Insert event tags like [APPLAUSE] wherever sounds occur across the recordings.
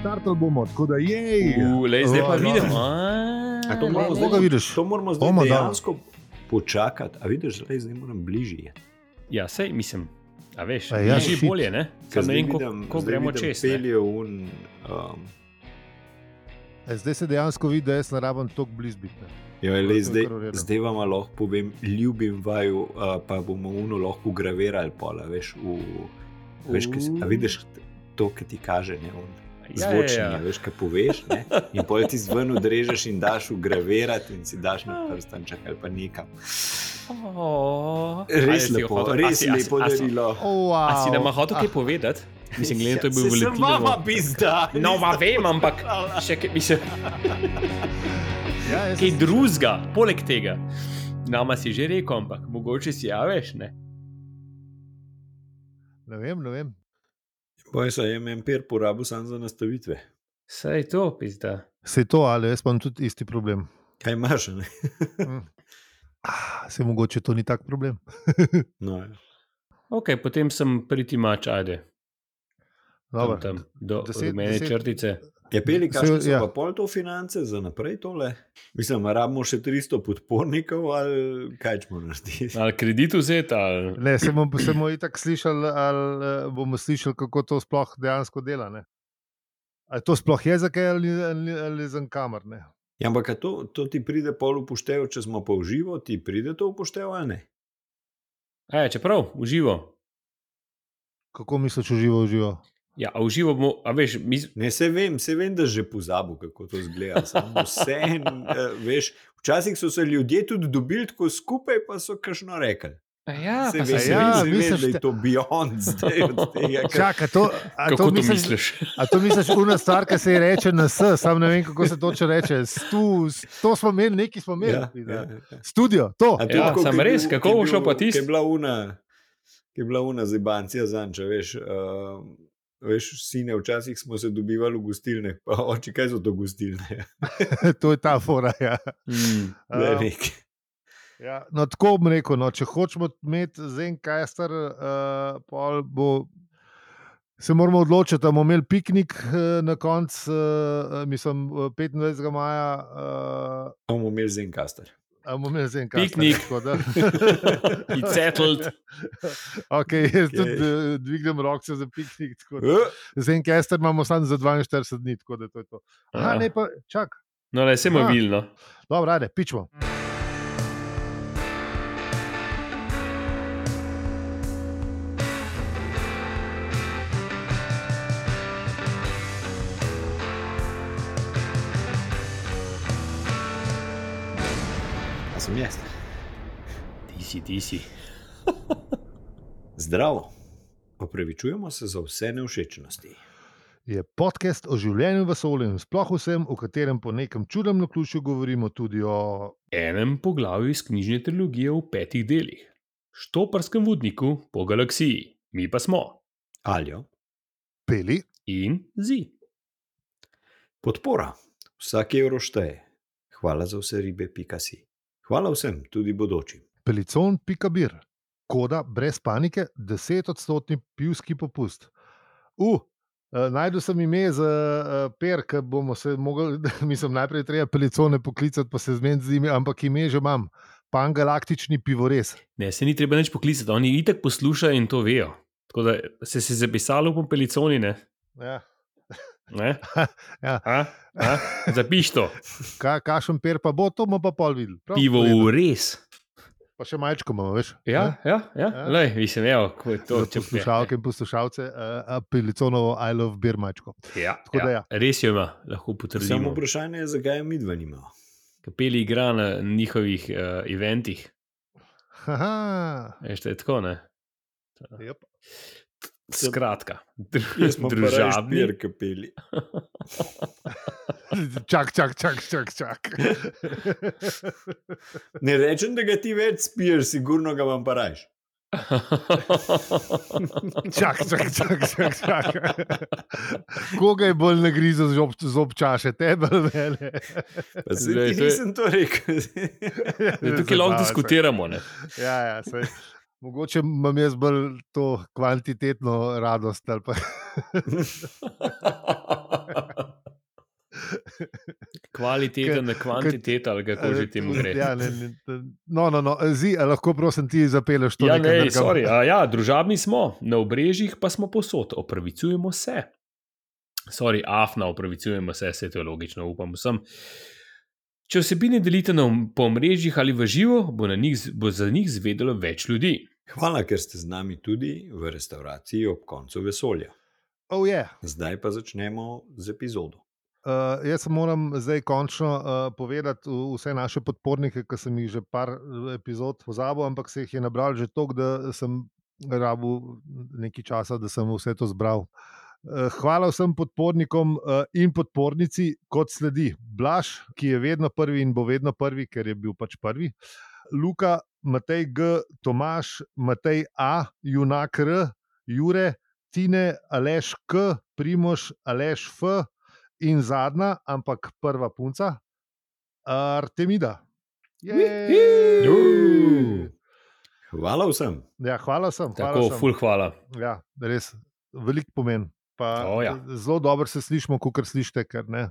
štartali bomo, tako da je. U, lej, zdaj pa Oj, vidimo. A A, to moramo Zdaj ga zdaj, vidiš. to moramo zdaj Bomo dali. dejansko počakati. A vidiš, zdaj, zdaj moram bližje. Ja, sej mislim. A veš, A a ja, ja, že shit. bolje, ne? Sam ne vem, ko, ko gremo čez. ne. Ja, Pelje un, um, E, zdaj se dejansko vidi, da jaz ne rabim toliko blizu biti. ne. jo, To lej, je ja, zdaj, kar v redu. zdaj vam lahko povem, ljubim vaju, uh, pa bomo uno lahko gravirali pola, veš, v, veš, kaj, se- a vidiš to, kar ti kaže, ne un. Ja, ja, Zvočni, ja, ja. veš, kaj poveš. Ne? In pojdi ti zven, odrežeš in daš ugravirati, in si daš na prstanček ali pa nekam. O, a Res jaz ti jo lepo, hotel- a res si- a si- lepo a si- darilo. Oh, A si nam wow. hotel kaj povedati? Mislim, glede na to je bil Ja, saj sem vama veliko. pizda. No, ma vem, ampak še kaj, mislim, Ja, jaz kaj sem- drugega, poleg tega. Nama si že rekel, ampak mogoče si javeš, ne? Ne vem, ne vem. Boj se je MPR porabil samo za nastavitve. Saj to, pizda. Se to, ali jaz pa imam tudi isti problem. Kaj imaš? a Ne? Ah, Se mogoče to ni tak problem. No, ja. Ok, potem sem pritimač, ajde. Tam, Dobro. tam, do Deset- rumene deset- črtice. Je peli, Saj, kakšne so ja. ja. pa pol to finance za naprej tole? Mislim, a rabimo še 300 podpornikov ali kaj ćemo narediti? Ali kredit vzeti, ali Ne, se bomo, se bomo itak slišali, ali eh, bomo slišali, kako to sploh dejansko dela. Ne? Ali to sploh je za kaj ali, ali, ali za kamer? Ne? Ja, ampak a to, to ti pride pol upoštevo, če smo pa v živo, ti pride to upoštevo ali ne? E, čeprav, v živo. Kako misliš, uživo, uživo? Ja, a v živo bomo, a veš, mi, z- Ne, se vem, se vem, da že pozabil, kako to zgleda. samo Vseeno, eh, veš, včasih so se ljudje tudi dobili tako skupaj, pa so kašno rekli. a ja, Se pa vem, se saj se ja, vem, se vem, misliš, da te- je to beyond [LAUGHS] zdaj od [LAUGHS] tega, kar Čaka, to, a Ja, Kako to to misliš? [LAUGHS] A to misliš, ura stvar, ki se ji reče na S, sam ne vem, kako se točno reče. Stu, to smo imeli, neki smo imeli. Ja, ja, Ja. ja. Studio, to. A to, Ja, ko- samo ko je res, bil- kako ko je bo šlo bil- pa tisto? ko Je bila una, ko je bila una zibancija zanča, veš. Um, Veš, sine, včasih smo se dobivali v gostilne, pa oči, kaj so to gostilne? [LAUGHS] to je ta fora. Ja. Mm. [LAUGHS] Ne, Um, nek. Ja, no, tako bom rekel. No, če hočemo imeti Zenkaster, uh, pol bo. Se moramo odločiti, ali bomo imeli piknik eh, na koncu, eh, mislim, eh, 25. maja, eh, Bomo imeli zenkaster. ali bomo imeli Zenkaster. Piknik. tako Da, [LAUGHS] It's settled. okay, jaz Okej. okay. tudi eh, dvignem roke za piknik. tako da- Eh, Zenkaster imamo samo za 42 dni, tako da to je to. Aha, Ja. ne, pa čak, No, le, se mu Aha. vilno. dobro, rade, pičmo. A sem jaz. Ti si, ti si. Zdravo. Opravičujemo se za vse neušečnosti. Je podcast o življenju v vesolju in sploh vsem, v katerem po nekem čudnem naključju govorimo tudi o. Enem poglavju iz knjižne trilogije v petih delih. Štoprskem vodniku po galaksiji, mi pa smo. Aljo. Peli, In zi. Podpora. Vsak evro šteje. Hvala za vse ribe, pika si. Hvala vsem, tudi bodočim. pelicon, pikabir, koda, brez panike, 10-odstotni pivski popust. U, uh, najdu sem ime za uh, per, ki bomo se mogli, [LAUGHS] mislim, najprej je treba pelicone poklicati, pa se zmeniti z njimi, ampak ime že imam, pangalaktični pivorez. Ne, se ni treba nič poklicati, oni itak poslušajo in to vejo. Tako da se je zapisalo v peliconi, ne? Ja. ne? [LAUGHS] Ja. A? A? Zapiš [LAUGHS] to, Ka, kašen per pa bo, to bomo pa pol videli. Prav, pivo v redu. v res. Pa še majčko imamo, veš? Ja, ne? ja, ja. Ja. ja. Lej, mislim, evo, ko je to Za poslušalke in poslušalce, uh, peliconovo I love beer mačko. Ja, Tako ja. da ja. Res jo ima, lahko Samo potrdimo. vprašanje je, zakaj je midva nimamo. [LAUGHS] Kapeli igra na njihovih uh, eventih. Haha, Veš, to je tako, ne? jep. [LAUGHS] Skratka, Ja, Jaz smo družabni. družabni, ki peli. čak, čak, čak, čak. [LAUGHS] čak. Ne rečem, da ga ti več spiješ, sigurno ga vam pa rajš. čak, čak, čak, čak, čak. Koga je bolj nagrizel z ob- z občaše, tebe ali [LAUGHS] mene? Pa se Glej, ti to je- nisem to rekel. [LAUGHS] Zdaj, Ja, tukaj Zabavaj lahko se. diskutiramo. [LAUGHS] Ne? Ja, ja, sej. Mogoče imam jaz bolj to kvantitetno radost ali pa Kvaliteta na kvantiteta, ali kako že temu gre. Ja, ne, ne, to- no, no, no. Zi, a lahko prosim ti zapelješ to Ja, nekaj ne, drugega? sorry, a ja, družabni smo, na obrežjih pa smo posod, opravičujemo se. Sorry, afna, opravičujemo se, se to je logično, upam vsem. Če vsebine delite na, om- po omrežjih ali v živo, bo, na njih, z- bo za njih zvedelo več ljudi. Hvala, ker ste z nami tudi v restauraciji ob koncu vesolja. Oh, yeah. Zdaj pa začnemo z epizodo. Uh, jaz moram zdaj končno uh, povedati v- vse naše podpornike, ki sem jih že par eh, epizod pozabil, ampak se jih je nabral že toliko, da sem rabu nekaj časa, da sem vse to zbral. Eh, Hvala vsem podpornikom eh, in podpornici, kot sledi Blaž, ki je vedno prvi in bo vedno prvi, ker je bil pač prvi. Luka, Matej G., Tomaš, Matej A., Junak R., Jure, Tine, Aleš K., Primoš, Aleš F., in zadnja, ampak prva punca, Artemida. Jej! Juhu! Hvala vsem. Ja, hvala sem. Hvala Tako, sem. ful, hvala. Ja, res, velik pomen. Pa, eh, O, ja. Zelo dobro se slišimo, kot slišite, ker ne,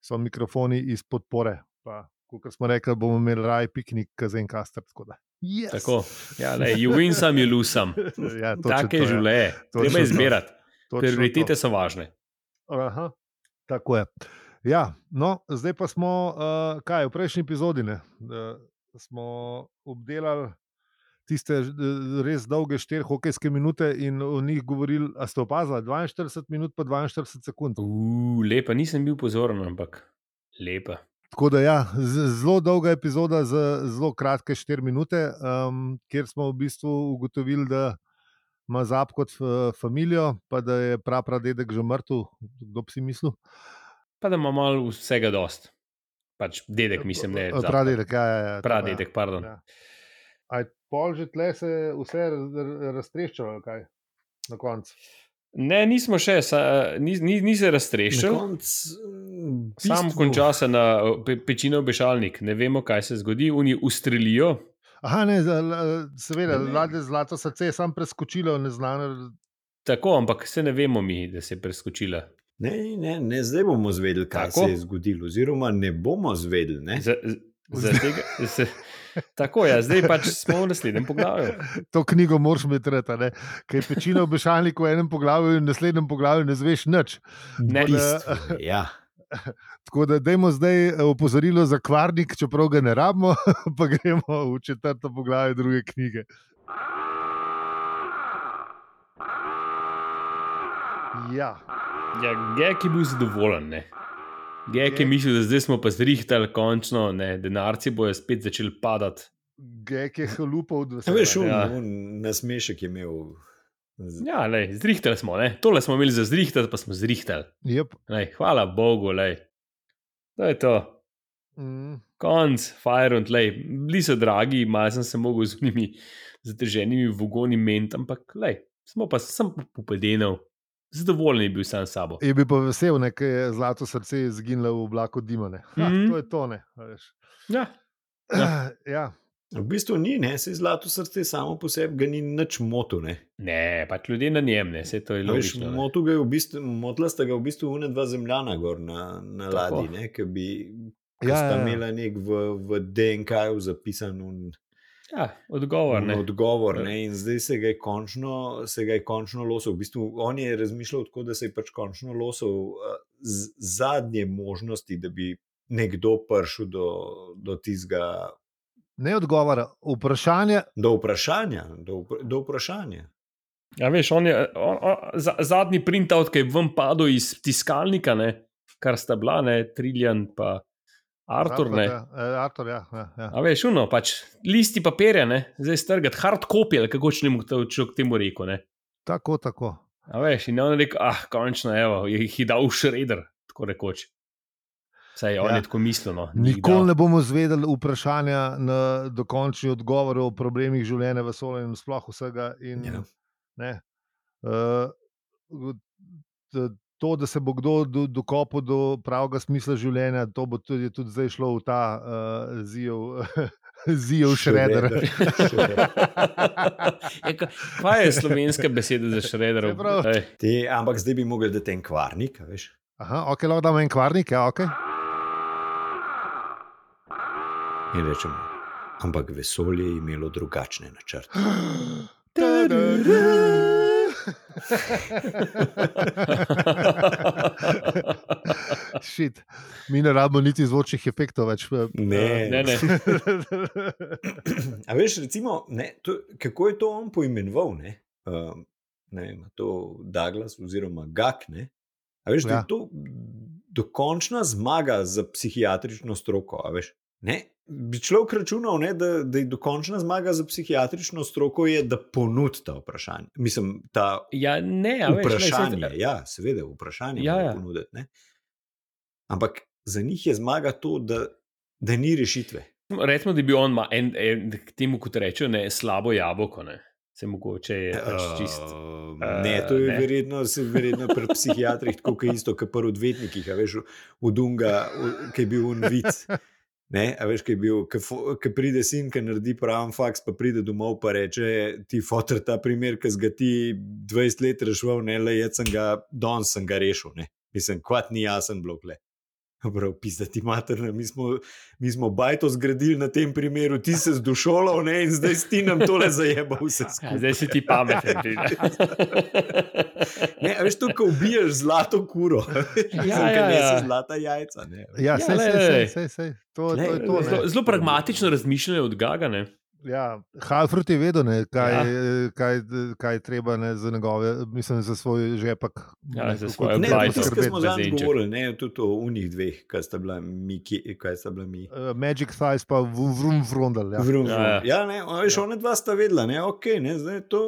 so mikrofoni iz podpore. Pa, kot smo rekli, bomo imeli raj piknik, kazen kastr. Tako. da. Yes. Tako, ja, ne, you win sam, you lose sam. [LAUGHS] Ja, [LAUGHS] točno Take to, je ja. življenje, Točno treba to. izbirati. Točno to. Prioritete so važne. Aha, tako je. Ja, no, zdaj pa smo, uh, kaj v prejšnji epizodi, ne, da smo obdelali tiste eh, res dolge štiri hokejske minute in o njih govorili, a ste opazili 42 minut, pa 42 sekund. Uuu, lepa, nisem bil pozoren, ampak lepa. Tako da, ja, z- zelo dolga epizoda za zelo kratke 4 minute, um, kjer smo v bistvu ugotovili, da ima zap kot uh, familijo, pa da je prapradedek že mrtev, kdo bi si mislil. Pa da ima malo vsega dost. Pač dedek, mislim, ne. Eh, zapad. Pradedek, ja, ja. ja tako, ja. Pradedek, pardon. Ja. A je pol že tle se vse raz- ra- raztreščalo, ali kaj na koncu. Ne, nismo še, sa, ni, ni, ni se Na raztrešil. koncu, mm, Sam bistvo- konča se na pe, pečino obešalnik, ne vemo, kaj se zgodi, oni ustrelijo. Aha, ne, za- la- seveda, Ne. lade zlato srce je sam preskočilo, neznano. Tako, ampak se ne vemo mi, da se je preskočila. Ne, ne, ne, zdaj bomo zvedeli, kaj Tako. Tako? se je zgodilo, oziroma ne bomo zvedeli. Ne? Za, za tega, se, tako je, ja, zdaj pač smo v naslednjem poglavju. To knjigo moraš imeti, reta, ne? Kaj je pečino obešalnik v enem poglavju in v naslednjem poglavju ne zveš nič. Ne, eh, Bistvo, ja. Tako da dajmo zdaj eh, opozorilo za kvarnik, čeprav ga ne rabimo, [LAUGHS] pa gremo v četrto poglavje druge knjige. Ja. ja, Gek je bil zadovoljen. Ne. Gek je Gek- mislil, da zdaj smo pa zrihtali, končno, ne, denarci bojo spet začeli padati. Gek je halupal od A Veš, on, veselja. Ja. ja. on nasmešek je imel. Z- Ja, lej, zrihtali smo, ne. tole smo imeli za zrihtati, pa smo zrihtali. Yep. Lej, hvala Bogu, lej. to je to. Mm. Konc, fire and lej. Bili so dragi, malo sem se mogel z njimi zateženimi vogoni ment, ampak lej, smo pa sem popadenil. Zadovoljen je bil sam s sabo. Je bil pa vesel, ne, ker je zlato srce izginilo v oblaku dima. ne. Ha, Mhm. To je to, ne. a veš. Ja, Ja. [CLEARS THROAT] ja. V bistvu ni, ne, se zlato srce samo po sebi ga ni nič moto. Ne. ne, pač ljudje na njem, ne, vse to je A Veš, logično. ne. motu ga je v bistvu, motla sta ga v bistvu une dva zemljana gor na, na Tako. ladji, ne, ki bi ja, Ja, sta ja, ja. imela nek v, v DNK-ju zapisan un, Ja, odgovor un ne. odgovor. Ja. Ne, in zdaj se ga je končno, se ga je končno losil. V bistvu, on je razmišljal tako, da se je pač končno losil eh, z- zadnje možnosti, da bi nekdo prišel do, do tistega Ne odgovara. Vprašanje, Do vprašanja, do, vpr- do vprašanja. Ja, veš, on je on, on, za, zadnji printout, ki je ven padel iz tiskalnika, ne, kar sta bila, ne, Triljan pa Artur. Ne. Ja, eh, Artur, ja. ja, ja. A veš, uno, pač listi papirja, ne, zdaj strgati, hard copy, ali kako če mu to človek temu rekel. Ne. Tako, tako. A veš, in on je rekel, ah, končno, evo, je jih je dal šreder, tako rekoč. Saj on Ja. ja. je tako mislil. No, ni jih Nikoli dal. [LAUGHS] ne bomo zvedeli vprašanja na dokončni odgovor o problemih življenja v Solju in sploh vsega. In, Ja. ne, eh, v- t- to, da se bo kdo do, dokopal eh, [LAUGHS] do pravega smisla življenja, to bo tudi, tudi zdaj šlo v ta uh, zijev Zijo [LAUGHS] šreder. Shredder. Ja, ka- Kaj je slovenska beseda za šreder? Se pravi. [LAUGHS] Ti, ampak zdaj bi mogel dati en kvarnik, a veš. Aha, ok, lahko damo en kvarnik, ja, ok. In rečemo, ampak vesolje je imelo drugačne načrte. Šit, mi ne rabimo niti zvočnih efektov več. eh. Ne, Ne, ne. [LAUGHS] [CLEARS THROAT] A veš, recimo, ne, to, kako je to on poimenoval? Ne, um, ne vem, a to Douglas oziroma Gak. Ne? A veš, ja. da Ja. je to dokončna zmaga za psihiatrično stroko. a Veš, ne? Bi človek računal, ne, da, da je dokončna zmaga za psihiatrično stroko, je, da ponudi ta vprašanje. Mislim, ta Ja, ne, a ja, veš, lej, saj- vprašanje. Veš, ja, seveda, vprašanje Ja, ja, ja. ja. ponuditi. Ne? Ampak za njih je zmaga to, da, da ni rešitve. Recimo, da bi on imel en, en, k temu, kot rečejo, ne, slabo jabolko. Ne. Se mogoče je pač čist. Um, eh, ne, to je ne. verjetno, se verjetno pri psihiatrih, tako kot je isto, kot pri odvetnikih, a veš, od Dunga, v- ki je bil unvic. Ne, a veš, ki je bil, ki fo- ki pride sin, ki naredi pravi faks, pa pride domov in reče: Ti fotor ta primer, ki si ga ti 20 let rešil, ne le jaz sem ga, danes sem ga rešil. Ne. Mislim, kvat ni jasen blok le. Prav, pisati materna, mi smo, mi smo bajto zgradili na tem primeru, ti se zdušolal ne, in zdaj si ti nam tole zajebal vse Ja, skupaj. zdaj si ti pameten. Ti, [LAUGHS] ne. Ne, a veš, to, ko ubiješ zlato kuro, ja, ja, ja, ja. ja. nese zlata jajca. Ne. Ja, sej, lej, sej, sej, lej. sej, sej. To, to Glej, je to. ne. Zelo, zelo pragmatično razmišljanje od Gaga. Ne. Ja, Halfrut je vedel, ne, kaj, Ja. ja. kaj, kaj je treba ne, za, njegove, mislim, za svoj žepek. Ja, za kako svojo Ne, treba blajto. to tisto, kar poskrbeti. smo zadnjič bezinček. govorili, ne, tudi o unih dveh, kaj sta bila mi. Ki, kaj sta bila mi. Eh, Magic Thighs pa vrum, vrum, vrondal. Ja. Vrum, Ja, vrum. ja. Ja, ne, a veš, ja. one dva sta vedela, ne, ok, ne, zdaj je to.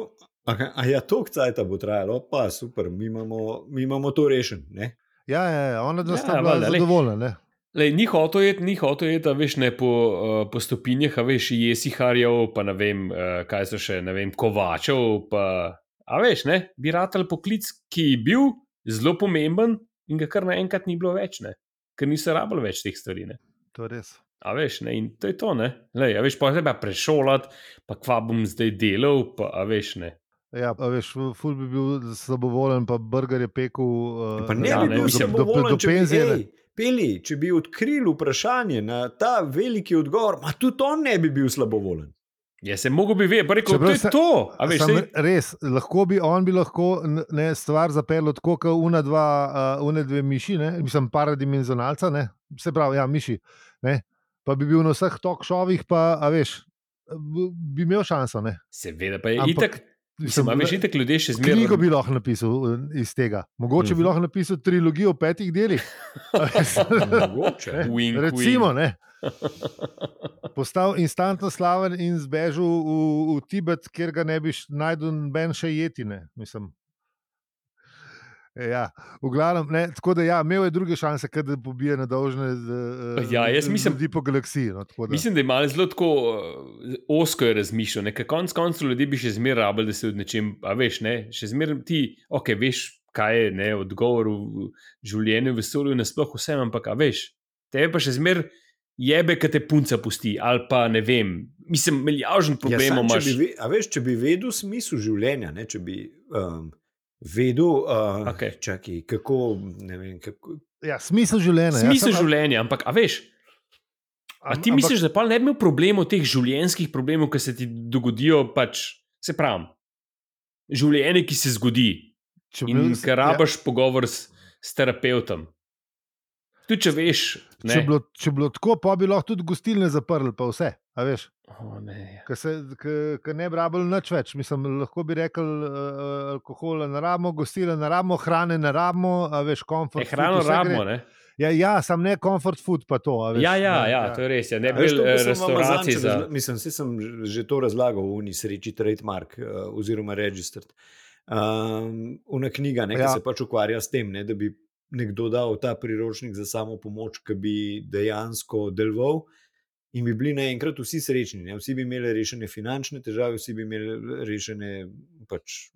Aha, a ja, to kcajta bo trajalo, pa super, mi imamo, mi imamo to rešen. Ne. Ja, ja, ja, ona dva Ja, sta bila valjda, lej. zadovoljna. ne. Lej, ni hotel jeti, ni hotel jeti, a veš, ne po, uh, po stopinjah, a veš, jesiharjev, pa ne vem, uh, kaj so še, ne vem, kovačev. Pa, a veš, ne, bi ratal poklic, ki je bil zelo pomemben in ga kar naenkrat ni bilo več, ne, ker niso rabili več teh stvari. Ne. To je res. A veš, ne, in to je to, ne. Lej, a veš, pa treba prešolati, pa kva bom zdaj delal, pa a veš, ne. Ja, a veš, ful bi bil zadovoljen, pa burger je pekel. eh, Pa ne, Ja, ja, ne, ne, bil mislim, sem do, do, do dovoljen, če bi, penzije. ej, ne. peli, če bi odkril vprašanje na ta veliki odgovor, ma tudi on ne bi bil slabovolen. Jaz sem mogel bi vedeti, pa rekel, Čeprav to je se- to. A veš, Samo saj- Res, lahko bi on bi lahko n- ne, stvar zapeljal tako, kot una dva, uh, une dve miši, ne, mislim, paradimenzionalca, ne, se pravi, ja, miši. Ne, pa bi bil na vseh tok šovih, pa a veš, b- bi imel šanso. Ne. seveda pa je Ampak, itak. Mislim, a veš, itak ljudje še zmeraj. Knjigo [LAUGHS] bi lahko napisal eh, iz tega. Mogoče bi Mhm. lahko napisal trilogijo v petih [LAUGHS] delih. A veš, Mogoče. Wink, Eh, Recimo, no, ne. [LAUGHS] Postal instantno slaven in zbežal v, v Tibet, kjer ga ne bi š- najdel noben še jetine. Mislim. E, Ja, v glavnem, ne, tako da ja, imel je druge šanse, kot da pobije nedolžne z- Ja, jaz mislim- ljudi po galaksiji. No, tako da- Mislim, da je malo zelo tako eh, osko je razmišljal. ne, ker Konec koncev ljudi bi še zmeraj rabili, da se od nečem, a veš, ne, še zmeraj ti, ok, veš, kaj je ne, odgovor v življenju, vesolju, nasploh vsem, ampak a veš, tebe pa še zmeraj jebe, ki te punca pusti, ali pa ne vem, mislim, milijažen Ja, problem sam, imaš. Če bi, ve- a veš, če bi vedel smisel življenja, ne, če bi um, vedel, uh, Okej. okay. čaki, kako, ne vem, kako, ja, smisel življenja. Smisel ja, življenja, ampak a veš, a ti ampak- misliš, da pa ne bi imel problemov, teh življenjskih problemov, ki se ti dogodijo, pač se pravi, življenje, ki se zgodi. če bi In bil- ker rabaš ja. pogovor s, s terapeutom. Tudi če veš, ja, če, ne. bilo, če bilo tako, pa bi lahko tudi gostilne zaprli, pa vse. a Veš, O, ne. Ker se ke, ke ne bi rabili nič več. Mislim, lahko bi rekli, uh, alkohola ne rabimo, gostila ne rabimo, hrane ne rabimo, a veš, E, komfort. hrano food, vse rabimo, gre. ne? Ja, ja, sam ne komfort food, pa to. a Veš, Ja, ja, ne, ja, to je res. Ja. Ne A bi veš, bilo to, kar eh, sem vam restauracij zadnjič za. razla- Mislim, saj sem že- že to razlagal v Unisreči, trademark uh, oziroma registered. Um, una knjiga, ne, ja. Ja. ki se pač ukvarja s tem, ne, da bi nekdo dal ta priročnik za samo pomoč, ki bi dejansko deloval. In bi bili naenkrat vsi srečni, ne? vsi bi imeli rešene finančne težave, vsi bi imeli rešene, pač,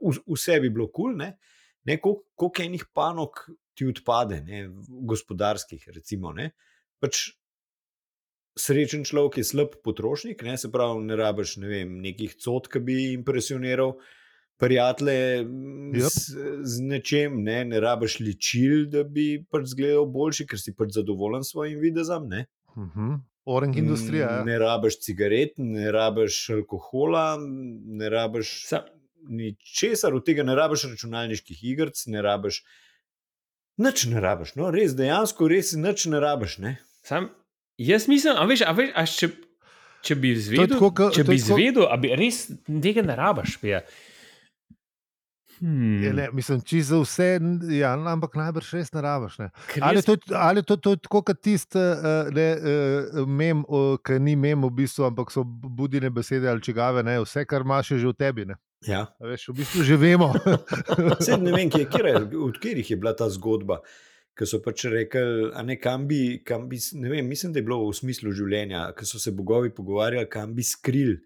v- vse bi bilo kul. Cool, ne? Ne, kol- Koliko enih panog ti odpade, ne? gospodarskih, recimo. Ne? Pač srečen človek je slab potrošnik, ne, se pravi, ne rabiš ne vem, nekih cot, ki bi impresioniral. Prijatelje Yep. yep. z, z nečem, ne, ne rabiš ličil, da bi pač izgledal boljši, ker si pač zadovoljen s svojim videzom. Ne. Uh -huh. Orang industrija. Mm, ja. Ne rabiš cigaret, ne rabiš alkohola, ne rabiš Sa, ničesar od tega, ne rabiš računalniških igric, ne rabiš. Nič ne rabiš, no, res dejansko, res nič ne rabiš. Ne? sam, jaz mislim, a veš, a veš a če, če bi izvedel, tako, ke- če to bi je tako- izvedel, a bi res tega ne rabaš. Ja. Hmm, Je, ne, mislim, če za vse, n- ja, ampak najbrž res ne rabiš. Ne. ker Ali je jaz- to, ali je to, to je tako, kot tisti, eh, ne, eh, mem, eh, ki ni mem v bistvu, ampak so bu- budine besede ali čigave, ne, vse, kar imaš, je že v tebi. Ne. Ja. A Veš, v bistvu že vemo. [LAUGHS] Sedaj ne vem, kje, kjer, je- od katerih je bila ta zgodba. Ki so pač rekli, a ne kam bi, kam bi, s- ne vem, mislim, da je bilo v smislu življenja, ki so se bogovi pogovarjali, kam bi skril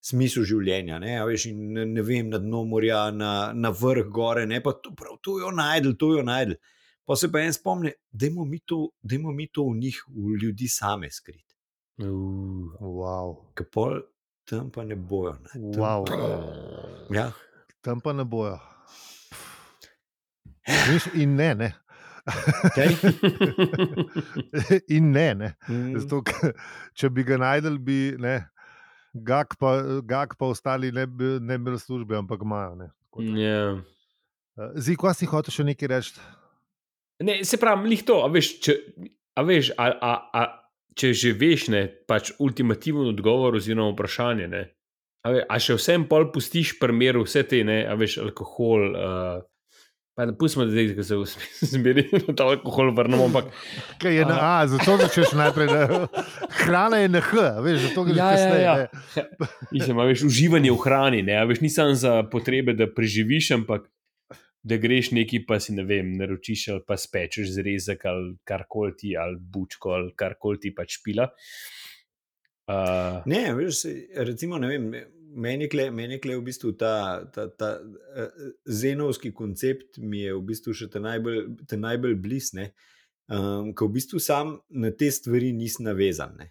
smisel življenja. Ne, a veš, in ne, ne vem, na dno morja, na, na vrh gore, ne pa to, prav to jo najdel, to jo najdel. Pa se pa en spomni, da imamo mi to, dajmo mi to v njih, v ljudi same skriti. Uh, wow. Ker pol tam pa ne bojo. Ne, tam, Wow. Ja, Tam pa ne [SIGHS] bojo. Viš, in ne, [LAUGHS] ne. okay. in ne, ne. Mm. mm. Zato, ker če bi ga najdel, bi ne, gak, pa, gak pa ostali ne bi, ne bi imeli službe, ampak imajo. ne. Tako da. ja. Eh, Zdaj, ko si hotel še nekaj reči, [LAUGHS] Ne, se pravi, lih to, a veš, če, a veš a, a, a, če že veš, ne, pač ultimativen odgovor oziroma vprašanje. Ne, a, ve, a še vsem pol pustiš primeru vse te, ne, a veš, alkohol. Uh, pa ne pustimo, da zdaj, ko se [LAUGHS] v- zmeri na ta alkohol vrnemo, ampak kaj je ja. na A, zato začneš najprej. Ne. [LAUGHS] Hrana je na H, a veš, zato greš Ja, ja, kasneje. ja. ne. Mislim, a veš, uživanje v hrani, ne a veš, ni samo za potrebe, da preživiš, ampak da greš neki, pa si ne vem, naročiš ali pa spečeš zrezek ali karkoli ti, ali bučko ali karkoli ti pač pila. Uh, Ne, veš, saj, recimo, ne vem, meni je kle- meni je kle v bistvu ta, ta, ta eh, zenovski koncept, mi je v bistvu še ta najbolj, ta najbolj bliz, ne. Um, Ker v bistvu sam na te stvari nisem navezan. Ne.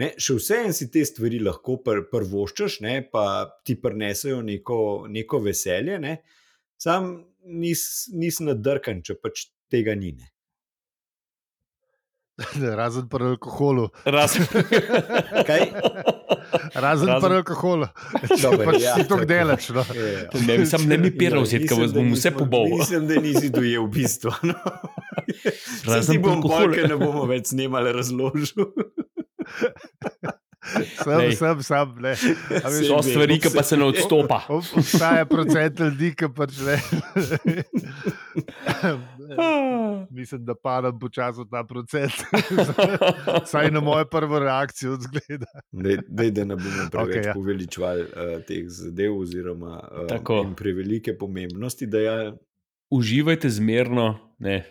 Ne, še vseeno si te stvari lahko pr, prvoščaš, ne, pa ti prinesejo neko, neko veselje. Ne. Sam nisem nis nadrkan, če pač tega ni. Ne. [LAUGHS] Razen pri alkoholu. Razen Kaj? Razen, Razen- Razen... pri alkoholu. Dober, [LAUGHS] pač ja, si to tako. delaš. No. Ja, ja. Ne, bi sam ne mi piral, Ja, zjet, mislim, kaj vas da bom nismo- vse pobol. Mislim, da nisi dojel bistva. [LAUGHS] No. Saj Razen ti bom alkohola. pol, ker ne bomo več snemali, [LAUGHS] razložil. Sam, Lej. sam, sam. Ne. A veš, So stvari, ki pa se ne [LAUGHS] odstopa. ob- Obstaja procent ljudi, ki pač ne. [LAUGHS] Mislim, da padam počasi v ta procent. [LAUGHS] Saj na mojo prvo reakcijo zgleda. Dej, dej, da ne bomo preveč Okej, okay, ja. ja. poveličevali uh, teh zadev, oziroma Tako. uh, prevelike pomembnosti. Da ja, Uživajte zmerno, ne.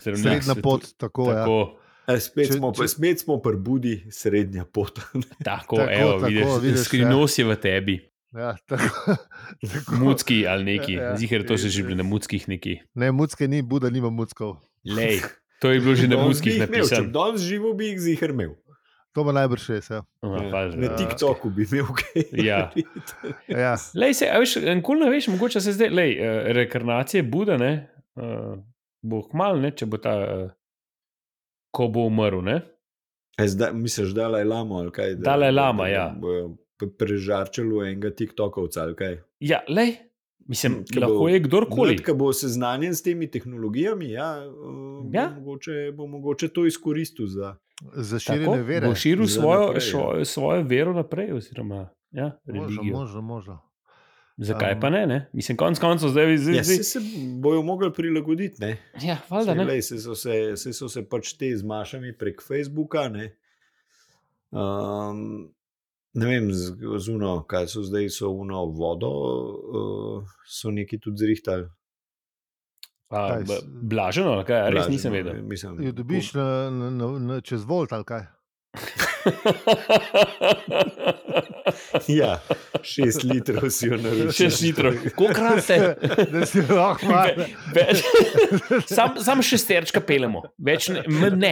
Srednja, Srednja pot, tako, tako ja. Tako, eh, spet, Če- če, smo, če- če... spet smo pri Budi srednja pot. tako, Tako, evo, tako, vidiš, vidiš, ja. skrivnost je v tebi, ja tako, [LAUGHS] tako. mucki ali neki, Ja, ja. zihar to se že bili na muckih neki. Ne, mucke ni, Buda nima muckov. [LAUGHS] Lej, to je bilo že No, na muskih napisano. Danes živo bi jih zihar imel. To bo najbrž res. Ja. Aha, pač, Ja, pa, Na TikToku bi imel kaj. Ja. Ja. Lej, se, a veš, nikoli ne veš, mogoče se zdaj, lej, eh, rekarnacije Buda, ne, eh, bo kmalu, ne, če bo ta, eh, ko bo umrl, ne. E, Zdaj, misliš, da je lama ali kaj? Da, Dalaj Lama, da, ja. Da prežarčilo enega TikTokovca ali kaj. Ja, lej, mislim, Ke bo- lahko je kdorkoli. Ki bo seznanjen s temi tehnologijami, ja, eh, Ja. Bo, mogoče, bo mogoče to izkoristil za. Za širjenje Tako, vere. Bo širil Za svojo, naprej, ja. šo, svojo vero naprej, oziroma ja, Možno, religijo. možno, možno. Zakaj Um, pa ne? ne? Mislim, konec koncev zdaj Ja, vidiš. se, se bojo mogli prilagoditi. ne. Ja, valjda Saj, ne. glej, Saj so, se- saj so se pač te zmašami prek Facebooka. Ne, um, ne vem, z, z uno, kaj so zdaj, so uno vodo, uh, so neki tudi zrihtali. A, Kaj b- s- Blaženo, ali kaj, res Lažemo, nisem vedel. no, Mislim, Jo Ja, dobiš na, na, na, na, čez volt ali kaj. [LAUGHS] [LAUGHS] Ja, šest litrov si jo naročil. [LAUGHS] Še hitro, kolikrat se. [LAUGHS] da si lahko malo. Ve- [LAUGHS] več- Sam, sam šesterčka pelemo, več ne. m- ne.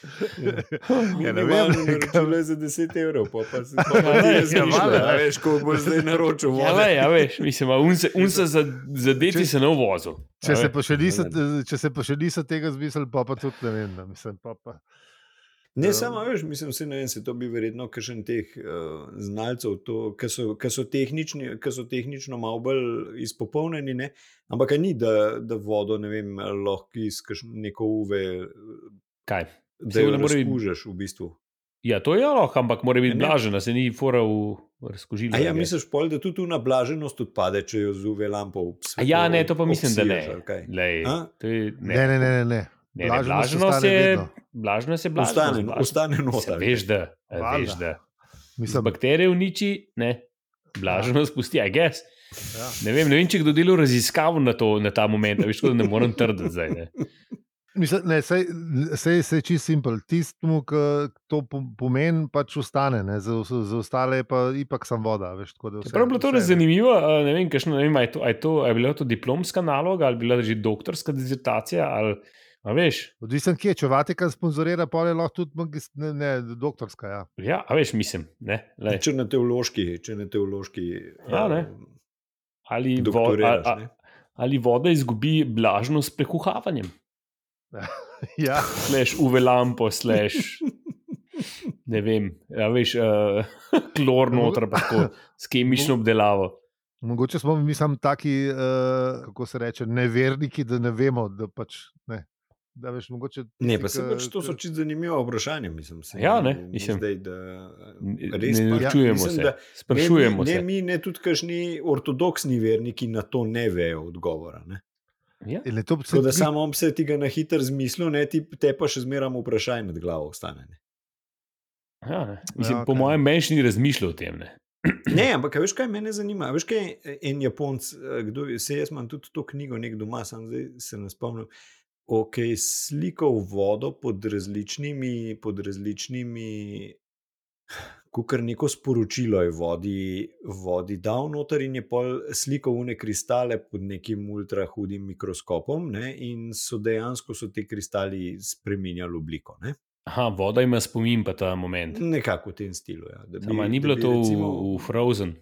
Ja, ne Minimalno vem, naročilo je za 10 evrov, pa, pa [LAUGHS] si pa Ja, ti ja, razmišlja, valjda. a veš, koliko boš zdaj naročil Ja, vode. le, ja, veš, mislim, a un se, un se za, za deti Če- se ne uvozil. Če se, pa še niso, če se pa še niso tega zmisli, pa, pa tudi ne vem. no, Mislim, pa, pa. Ne, Ja. samo veš, mislim, se ne vem, se to bi verjetno kakšen teh uh, znalcev, ki so, ke so, tehnični- ke so tehnično malo bolj izpopolnjeni, ne? ampak a ni, da, da vodo, ne vem, lahko iz kakšne- neko uve, Kaj? da Saj jo ne more biti- razkužeš v bistvu. Ja, to je lahko, ampak mora biti Ja, ne. blažena, se ni fora v razkožila. A ja, misliš pol, da tudi tu nablaženost odpade, če jo z uve lampo A obsvetliš? ja, ne, to pa mislim, da ne. Lej, A? to je, Ne, ne, ne. ne, ne. Ne, ne, Blaženost blaženost ostane je, vedno. blaženost je blaženost. Ostane, blaženost. ostane Se noter. veš, da, a veš, Valjda. da. Mislim, Bakterije uniči, ne. Blaženost pusti, a gess. ja. Ne vem, ne vem, če je kdo delal raziskavo na, to, na ta moment, a veš, tako da ne morem trditi zdaj. [LAUGHS] Ne. Mislim, ne, sej, sej, sej čist simpel. Tistemu, ki to po- pomeni, pač ostane, ne, za, za za ostale je pa ipak samo voda. Veš, tako da vse- Ja, Prav je bilo to res vse je. zanimivo, a ne vem, kakšno, ne vem a je, to, a je, to, a je bila to diplomska naloga ali bila že doktorska dizertacija ali, a veš, Odvisen, kje če Vatikan sponzorira, pa je lahko tudi magist, ne, ne, doktorska. Ja. [LAUGHS] ja, a veš, mislim, ne, lej, Če na teološki, če na teološki Ja, ne. eh, ali, vo, a, doktoriraš. a, ne. ali voda izgubi blažno s prekuhavanjem, Ja. slash uvelampo, slash [LAUGHS] ne vem, a veš, uh, [LAUGHS] klor noter pa tako s kemično obdelavo. Mogoče smo mi samo taki, uh, kako se reče, neverniki, da ne vemo, da pač ne. Da veš, mogoče, Ne, tisti, pa se ki- pač to so čisto zanimiva vprašanja, mislim. saj Ja, ne, ni mislim. Zdaj, da, Ne res ne pa- ja, norčujemo mislim, se, da sprašujemo ne, mi- se. Ne, mi, ne tudi kašni ortodoksni verniki na to ne vejo odgovora. Ne? Ja. Je to Tako da tudi- samo on se tega na hitro zmislil, ne, ti, te pa še zmeraj vprašanje nad glavo ostane. Ne, Ja, ne. Mislim, Ja, Po okej. mojem, menš ni razmišljal o tem. Ne? ne ampak a veš, kaj mene zanima? A Veš, kaj je en Japonc, eh, kdo je, se jaz imam tudi to knjigo, nek doma, sam zdaj se ne spomnim. Ok, slikal vodo pod različnimi, pod različnimi kar neko sporočilo je vodi, vodi dal noter in je pol slikal une kristale pod nekim ultrahudim mikroskopom, ne, in so dejansko so ti kristali spremenjali obliko. Ne. Aha, voda ima spomin, pa ta moment. Nekako v tem stilu. Ja, da Sama, ni da bilo bi to recimo... v, v Frozen.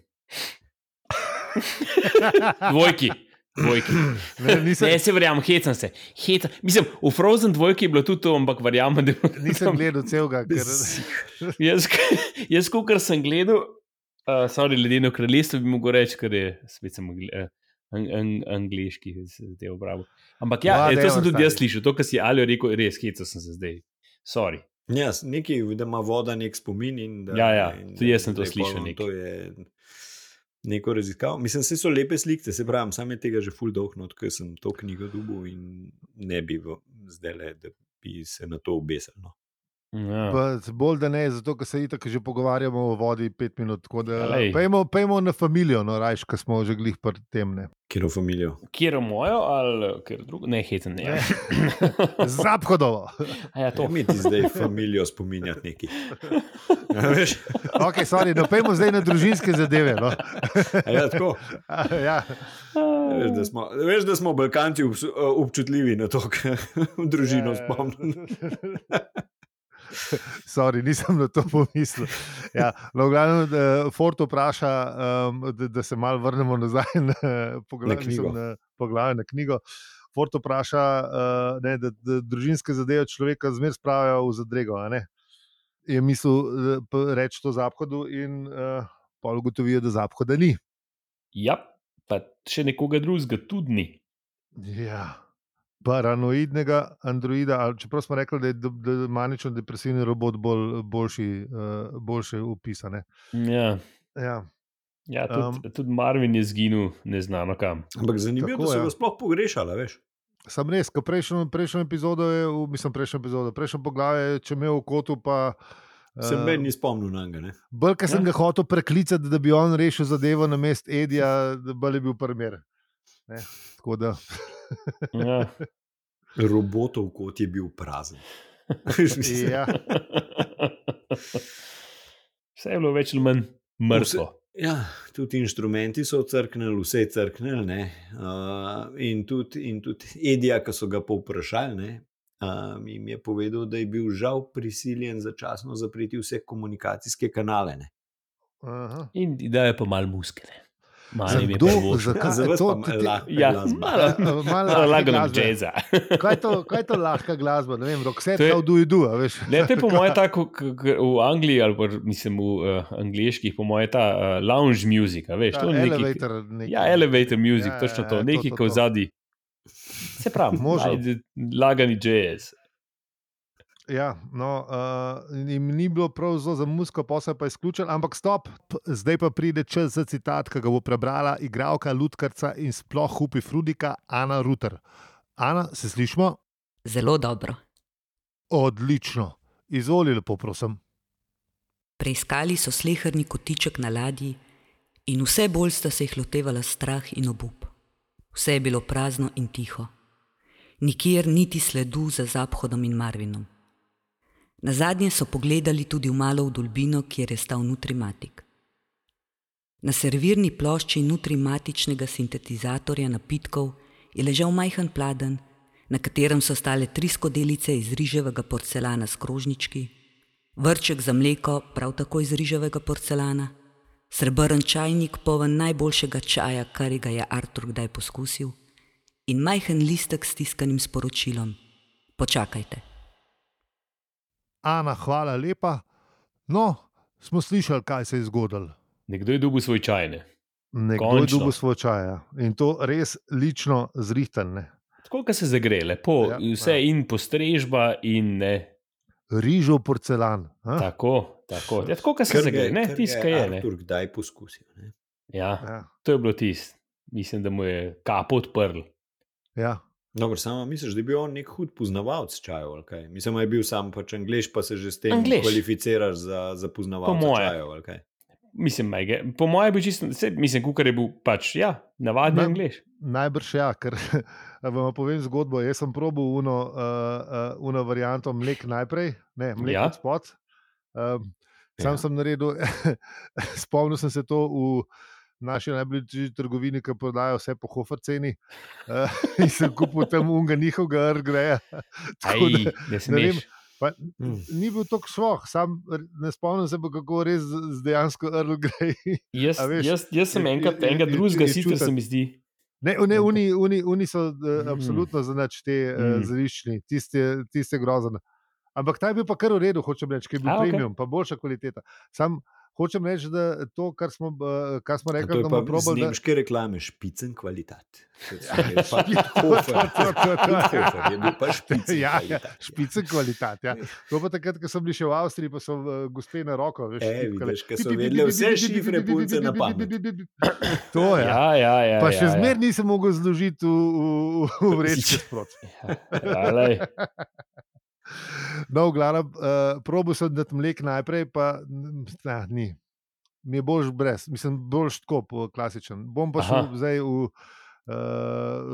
Dvojki. [LAUGHS] Dvojki. [LAUGHS] Ne, nisem, Ne, se verjamem, hecam se. Hecam. Mislim, v Frozen dvojki je bilo tudi to, ampak verjamem, da je bilo nisem gledal celega, ker Jaz, [LAUGHS] jaz kar sem gledal, uh, sorry, ledeno kraljestvo bi mogel reči, ker je svet sem uh, an, an, angliški, se te obrabo. Ampak ja, Whatever, eh, to sem tudi jaz stari. slišal, to, kar si Alijo rekel, res hecal sem se zdaj. Sorry. Ja, nekaj, da ima voda nek spomin. In da, Ja, ja, in tudi jaz sem to da je pol slišal on nekaj. To je neko raziskavo. Mislim, vse so lepe slike, se pravi, sam je tega že full dolgno, ker sem to knjigo dubil in ne bi zdaj le, da bi se na to obesil. No. Ja. pa bolj da ne, zato ker se itak že pogovarjamo o vodi pet minut. tako Da, Glej. pejmo, pejmo na familijo, no, rajš, ki smo že glih pred tem. Ne. Kjer v familijo. Kjer je mojo, ali kjer drugo? Ne, hecam, ne. ja. Ne. Zaphodovo. [LAUGHS] A ja, to. To [LAUGHS] mi ti zdaj familijo spominjati neki. Ja, veš? Okay, sorry, no, pejmo zdaj na družinske zadeve. No. [LAUGHS] A Ja, [LAUGHS] tako. ja. Veš, da smo, veš, da smo Balkanci obs- eh, občutljivi na to, kar družino Ja, spomnim. [LAUGHS] Sorry, nisem na to pomislil. Ja, no, v glavnem, da Ford vpraša, um, da, da se malo vrnemo nazaj na poglavje, Na mislim, knjigo. na, poglavje, na knjigo. Ford vpraša, uh, ne, da, da družinske zadeve človeka zmeraj spravijo v zadrego. a ne. Je mislil eh, p- reči to zaphodu, in uh, pa ugotovijo, da zaphoda ni. Ja, pa še nekoga drugega tudi ni. Ja. Paranoidnega androida, ali čeprav smo rekli, da je d- da je manično depresivni robot bolj, boljši, uh, boljše opisan. Ja, Ja. ja tudi, Um. um, tudi Marvin je zginil, neznano kam. Ampak zanimivo, Tako, da so ja. ga sploh pogrešali, a veš. Sam res, kot prejšnjo, prejšnjo epizodo, je, v- mislim, prejšnjo epizodo, prejšnjo poglavje, je, če me v kotu, pa. eh, Se uh, meni ni spomnil na njega. ne. Bolj, ker sem ga Ja. hotel preklicati, da bi on rešil zadevo na mest Edija, da bolj je bil primer. Ne, Tako da, Ja. Robotov kot je bil [LAUGHS] prazen. Veš, mislim, ja, [LAUGHS] Vse je bilo več ali manj mrtvo. ja, tudi inštrumenti so crknili, vse je Eh, crknilo. Uh, in tudi, in tudi Edija, ki so ga povprašali, ne, um, jim je povedal, da je bil žal prisiljen začasno zapreti vse komunikacijske kanale. Ne. Aha. [LAUGHS] In dajo pa malo muskele. Malo Za jim je kdo- privoščeno. za- Zakaj? Za vas To pa ti- lahko Ja, glasba. malo. Eh, Malo Lagano glasbe. jazza. [LAUGHS] Kaj je to, kaj je to lahka glasba? Ne vem, Roxette, To je- how do you do, a veš? Ne, to je po mojem tako, k- k- v Angliji ali pa mislim v uh, angliških, po mojem ta uh, lounge music, a veš, Ta to je nekaj. elevator. Nekaj. Ja, elevator music, ja, točno to, ja, nekaj, ko zadnji. Se [LAUGHS] pravi, Možno. ajde, lagani jazz. Ja, no, uh, jim ni bilo prav zelo za muziko, posel pa je izključen, ampak stop, P- zdaj pa pride čas za citat, ki ga bo prebrala igralka Ludkarca in sploh Hupi Frudika, Ana Ruter. Ana, se slišmo? Zelo dobro. Odlično. Izvoli, lepo, prosim. Preiskali so slehrni kotiček na ladji in vse bolj sta se jih lotevala strah in obup. Vse je bilo prazno in tiho. Nikjer niti sledu za Zaphodom in Marvinom. Na zadnje so pogledali tudi v malo v dolbino, kjer je stal nutrimatik. Na servirni plošči nutrimatičnega sintetizatorja napitkov je ležal majhen pladen, na katerem so stale tri skodelice iz riževega porcelana s krožnički, vrček za mleko prav tako iz riževega porcelana, srebrn čajnik poln najboljšega čaja, kar ga je Artur kdaj poskusil, in majhen listek s tiskanim sporočilom: Počakajte. Ana, hvala lepa. No, smo slišali, kaj se je zgodilo. Nekdo je dobil svoj čajne. Nekdo Končno. je dobil svoj čaj ja. in to res lično zrihtane. Tako, da se zagre, lepo, Ja, ja, vse ja. ja. in postrežba, in ne. Rižov porcelan. a? Tako, tako. Ja, tako, da se Kar zagre, ga- ne, kar ga tiska je. je. Ne. Artur, kdaj poskusil? Ne? Ja, Ja, to je bilo tisto. Mislim, da mu je kapo odprl. ja. Dobro, samo misliš, da je bil on nek hud poznavalec čajev? ali kaj? Mislim, da je bil sam pač angliš, pa se že s tem Anglež. kvalificiraš za, za poznavalca Po moje. čajev. ali kaj? Mislim, maj ga- po mojem, bi čisto, saj, mislim, kukar je bil pač, ja, navadni Ne. angliš. Najbrž ja, ker [LAUGHS] vam povem zgodbo. Jaz sem probil uno, uh, uh, uno varianto mlek najprej, ne mlek Ja. ja. od spod. Um, sam Ja. ja. sem naredil, [LAUGHS] spomnil sem se to v naši najbližji trgovini, ki prodajo vse po hofer ceni. Uh, [LAUGHS] in sem kupil tam unga njihovega rgreja. Aj, [LAUGHS] [LAUGHS] Tako da- ne vem, smeš. Pa, Mm. Ni bil tako švoh, sam r- ne spomnim se, pa kako res z z dejansko Earl Grey. Jaz, a veš, jaz, jaz sem je- enkrat, je- je- enega je- je drugega, sicer se čutiti. mi zdi. Ne, ne oni, oni, oni so Mm. mm. absolutno za nič te mm. Mm. zrišni, tiste, tiste grozne. Ampak ta je bil pa kar v redu, hočem reči, ki je bil A, okej. premium, pa boljša kvaliteta. Sam hočem reči, da to, kar smo, eh, kar smo A To rekli, je da pa bomo iz probali. Da... nemške reklame, špicen kvalitat. [LAUGHS] Kot so rekli, pa Hofer. to, to, to. Hofer je bil pa špicen Ja, ja, kvalitat. špice kvalitet. Ja. To pa takrat, ko sem bil še v Avstriji, pa so eh, gospe na roko. Veš, E, tipkale. vidiš, ke [LAUGHS] so vedele vse šifre punce na pamet. To je. Ja. Ja, ja, ja. Pa še ja, zmeraj nisem mogel zložiti v, v, v vrečke sproti. Ja, ja, lej. No, v glavnem, uh, probo sem dati mlek najprej, pa na, ni. Mi je boljš brez, mislim, boljš tako po- klasičen. Bom pa šel Aha. zdaj v uh,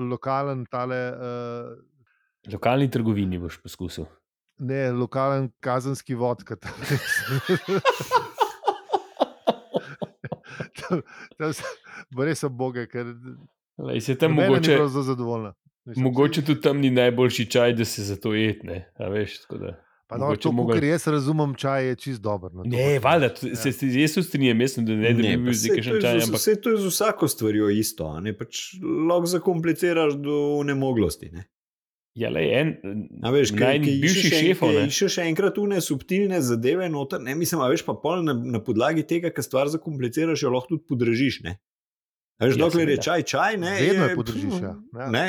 lokalen, tale, uh, Lokalni trgovini boš poskusil. ne, lokalen kazenski vod. ke tam Tam- tam so- bo Res so boge, ker Lej, se tam nobena ni mogoče, prav zelo zadovoljna. Mislim, mogoče tudi tam ni najboljši čaj, da se za to etne. Veš, tako da. pa no, mogoče to, mogel- mogoče... ker jaz razumem, čaj je čist dober. No, to Ne, hočem valjda, reči. t- se, se, jaz se strinjam, jaz sem, da ne, da bi Ja. pa bil saj zdaj to kakšen je čaj, z- ampak Saj to je z vsako stvarjo isto, a ne pač lahko zakompliciraš do nemoglosti. Ne? ja, lej, en, A veš, kaj najin bivši šefov, ne. Še še enkrat une subtilne zadeve noter, ne mislim, a veš pa pol na, na podlagi tega, kar stvar zakompliciraš, jo lahko tudi podražiš. Ne? A veš, Ja, dokler je seveda. čaj, čaj, ne. Vedno je podržiš. Ja. Ja. Ne,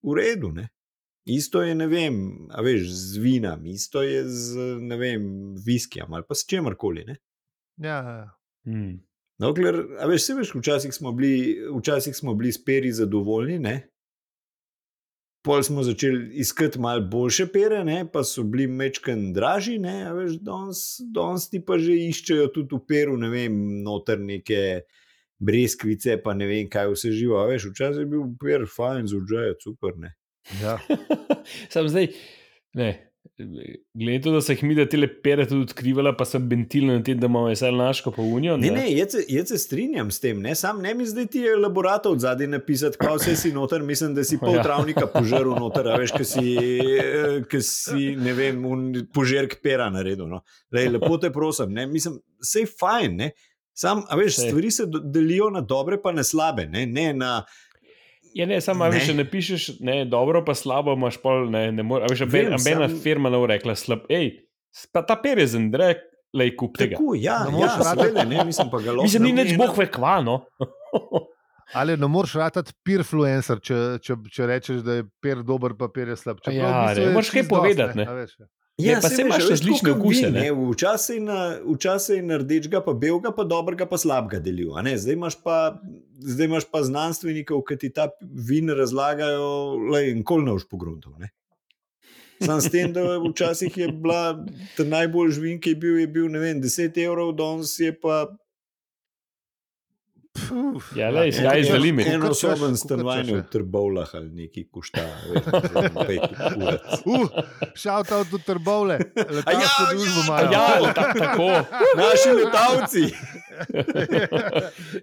v redu, ne. Isto je, ne vem, a veš, z vinom, isto je z, ne vem, viskijem ali pa s čemarkoli, ne. Ja, ja. Hmm. [LAUGHS] Dokler, No, a veš, se veš, včasih smo bili, včasih smo bili s peri zadovoljni, ne? Pol smo začeli iskati malo boljše pere, ne? pa so bili mečken dražji, ne, a veš, danes, danes ti pa že iščejo tudi v peru, ne vem, noter neke breskvice, pa ne vem, kaj vse živo. A veš, včasih je bil per fajn, zudžaj, super, ne. Ja. Sam zdaj, ne, Glede na to, da so jih mi da tele pere tudi odkrivala, pa sem bentilna na tem, da imamo SL naško pa unijo. Ne, ne, jaz se, jaz se strinjam s tem, ne? sam ne mi zdaj ti je elaboratov zadnji napisati, kaj vse si noter, mislim, da si pol Ja. travnika požrl noter, a veš, ki si, eh, ke si, ne vem, un požerk pera naredil. No? Lej, lepo te prosim, ne? mislim, sej fajn, ne? sam, a veš, Saj. stvari se do- delijo na dobre, pa na slabe, ne, ne na. Ja, ne, samo a veš, Ne. če ne pišeš, ne, dobro, pa slabo imaš pol, ne, ne moreš. Veš, Vem, amben- ambena samo- firma ne bo rekla, slab, hej, pa ta per je zendrek, lej kup tega. Tako, no, ja, Ne ne moreš ja, ratati. seveda, ne, mislim pa ga lahko. Mislim, ni nič namenjam. boh no. [LAUGHS] vekvano. Ali ne moreš ratati peer-fluencer, če, če, če rečeš, da je peer dober, pa peer je slab. Čeprav Ja, v bistvu ne, je moraš kaj čisto dosti, povedati, ne. a veš. ja. Ne, pa Ja, saj saj veš, imaš a veš, različne tako kot okuse, vi, ne. Včasih je, na- včasih je na rdečega, pa belega, pa dobrega, pa slabega delil. a ne. Zdaj imaš pa, zdaj imaš pa znanstvenikov, ki ti ta vin razlagajo, le in kol ne boš pogruntov. ne. Sam s tem, da včasih je bila ta najboljši vin, ki je bil, je bil ne vem, 10 evrov, danes je pa Puf, Ja, lej, ja, sky is ja, the limit. kolikor Eno češ, soben kolikor stanovanje v češ, Trbovlah ali neki košta, veš, ne vem, ja. Uh, Shout out do trbovle, letalsko ja, družbo ja, imajo. Ja, ali ta- tako. naši letalci. [LAUGHS]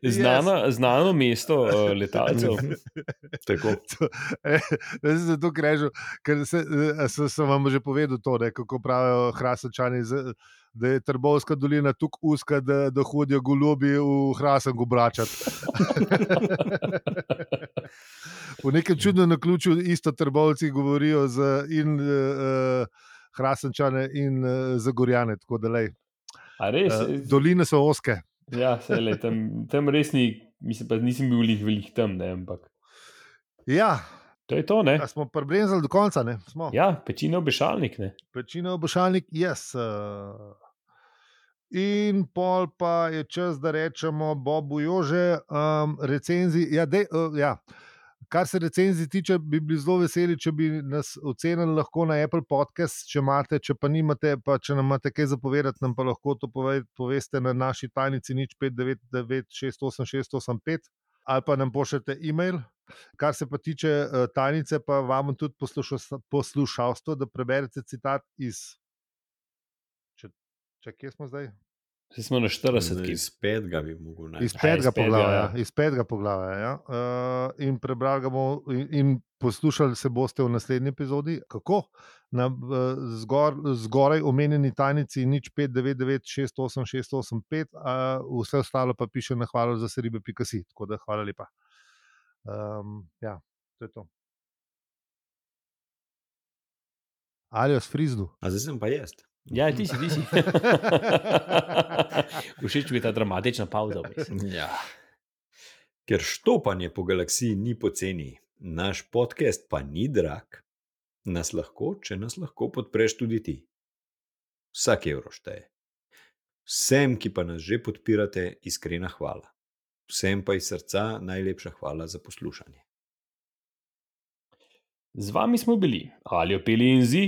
ja. Znana, znano mesto uh, letalcev. [LAUGHS] Tako. Jaz sem zato krežil, ker se, eh, se, sem vam že povedal to, ne, kako pravijo hrasenčani, z- da je Trbovska dolina tako uska, da, da hodijo golobi v hrasen gobračati. [LAUGHS] v nekem čudnem naključju isto Trbovci govorijo z, in uh, hrasenčane in uh, zagorjane. tako da, lej, A res? eh, Doline so oske. Ja, saj, lej, tam, tam res ni, mislim, pa nisem bil lih velik tam, ne, ampak Ja, to je to, ne. a smo prebrezali do konca, ne? Smo. Ja, pečino obešalnik, ne. večina obošalnik, jaz. Uh, in pol pa je čas, da rečemo Bobu Jože, um, recenzi. Ja, dej, uh, ja. Kar se recenzij tiče, bi bili zelo veseli, če bi nas ocenili lahko na Apple podcast, če imate, če pa nimate, pa če nam imate kaj zapovedati, nam pa lahko to pove, poveste na naši tajnici nič 599-68685 ali pa nam pošljete e-mail. Kar se pa tiče eh, tajnice, pa vam tudi poslušas- poslušalstvo, da preberete citat iz. Če, če kje smo zdaj? Zdaj smo na 40 kis. Spet ga bi mogel najti. Iz iz petega petega, poglavja. ja. Ja. Iz petega poglavja ja. uh, in prebrali ga bomo, in, in poslušali se boste v naslednji epizodi, kako na eh, zgor, zgoraj omenjeni tajnici nič 599-68685, uh, vse ostalo pa piše na hvalo za seribe.si. Tako da hvala lepa. Um, ja, to je to. Alijo s frizdu. A zdaj sem pa jaz. Ja, ti si, ti si. [LAUGHS] Všeč mi je ta dramatična pauza. vmes. Ja. Ker štopanje po galaksiji ni poceni, naš podcast pa ni drag, nas lahko, če nas lahko podpreš tudi ti. Vsak evro šteje. Vsem, ki pa nas že podpirate, iskrena hvala. Vsem pa iz srca najlepša hvala za poslušanje. Z vami smo bili ali opeli in zi.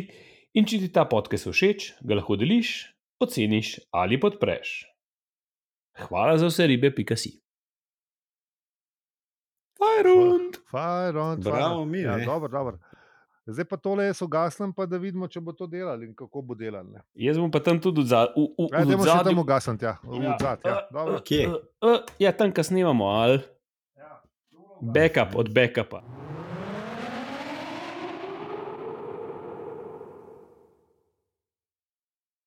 In če ti ta podcast všeč, ga lahko deliš, oceniš ali podpreš. Hvala za vse ribe, pika si. Fajrund! Fajn, on, Bravo, mi, ja, ne. dobro, dobro. Zdaj pa tole jaz ugasnem, pa da vidimo, če bo to delal in kako bo delal. ne. Jaz bom pa tam tudi odza- v- v- Ajde, v Ja, dajmo še tam zadju. ugasnem, tja, v odzad, E, ja. Dobro. Kje? Ja, tam, kjer snemamo, ali. Backup od backupa.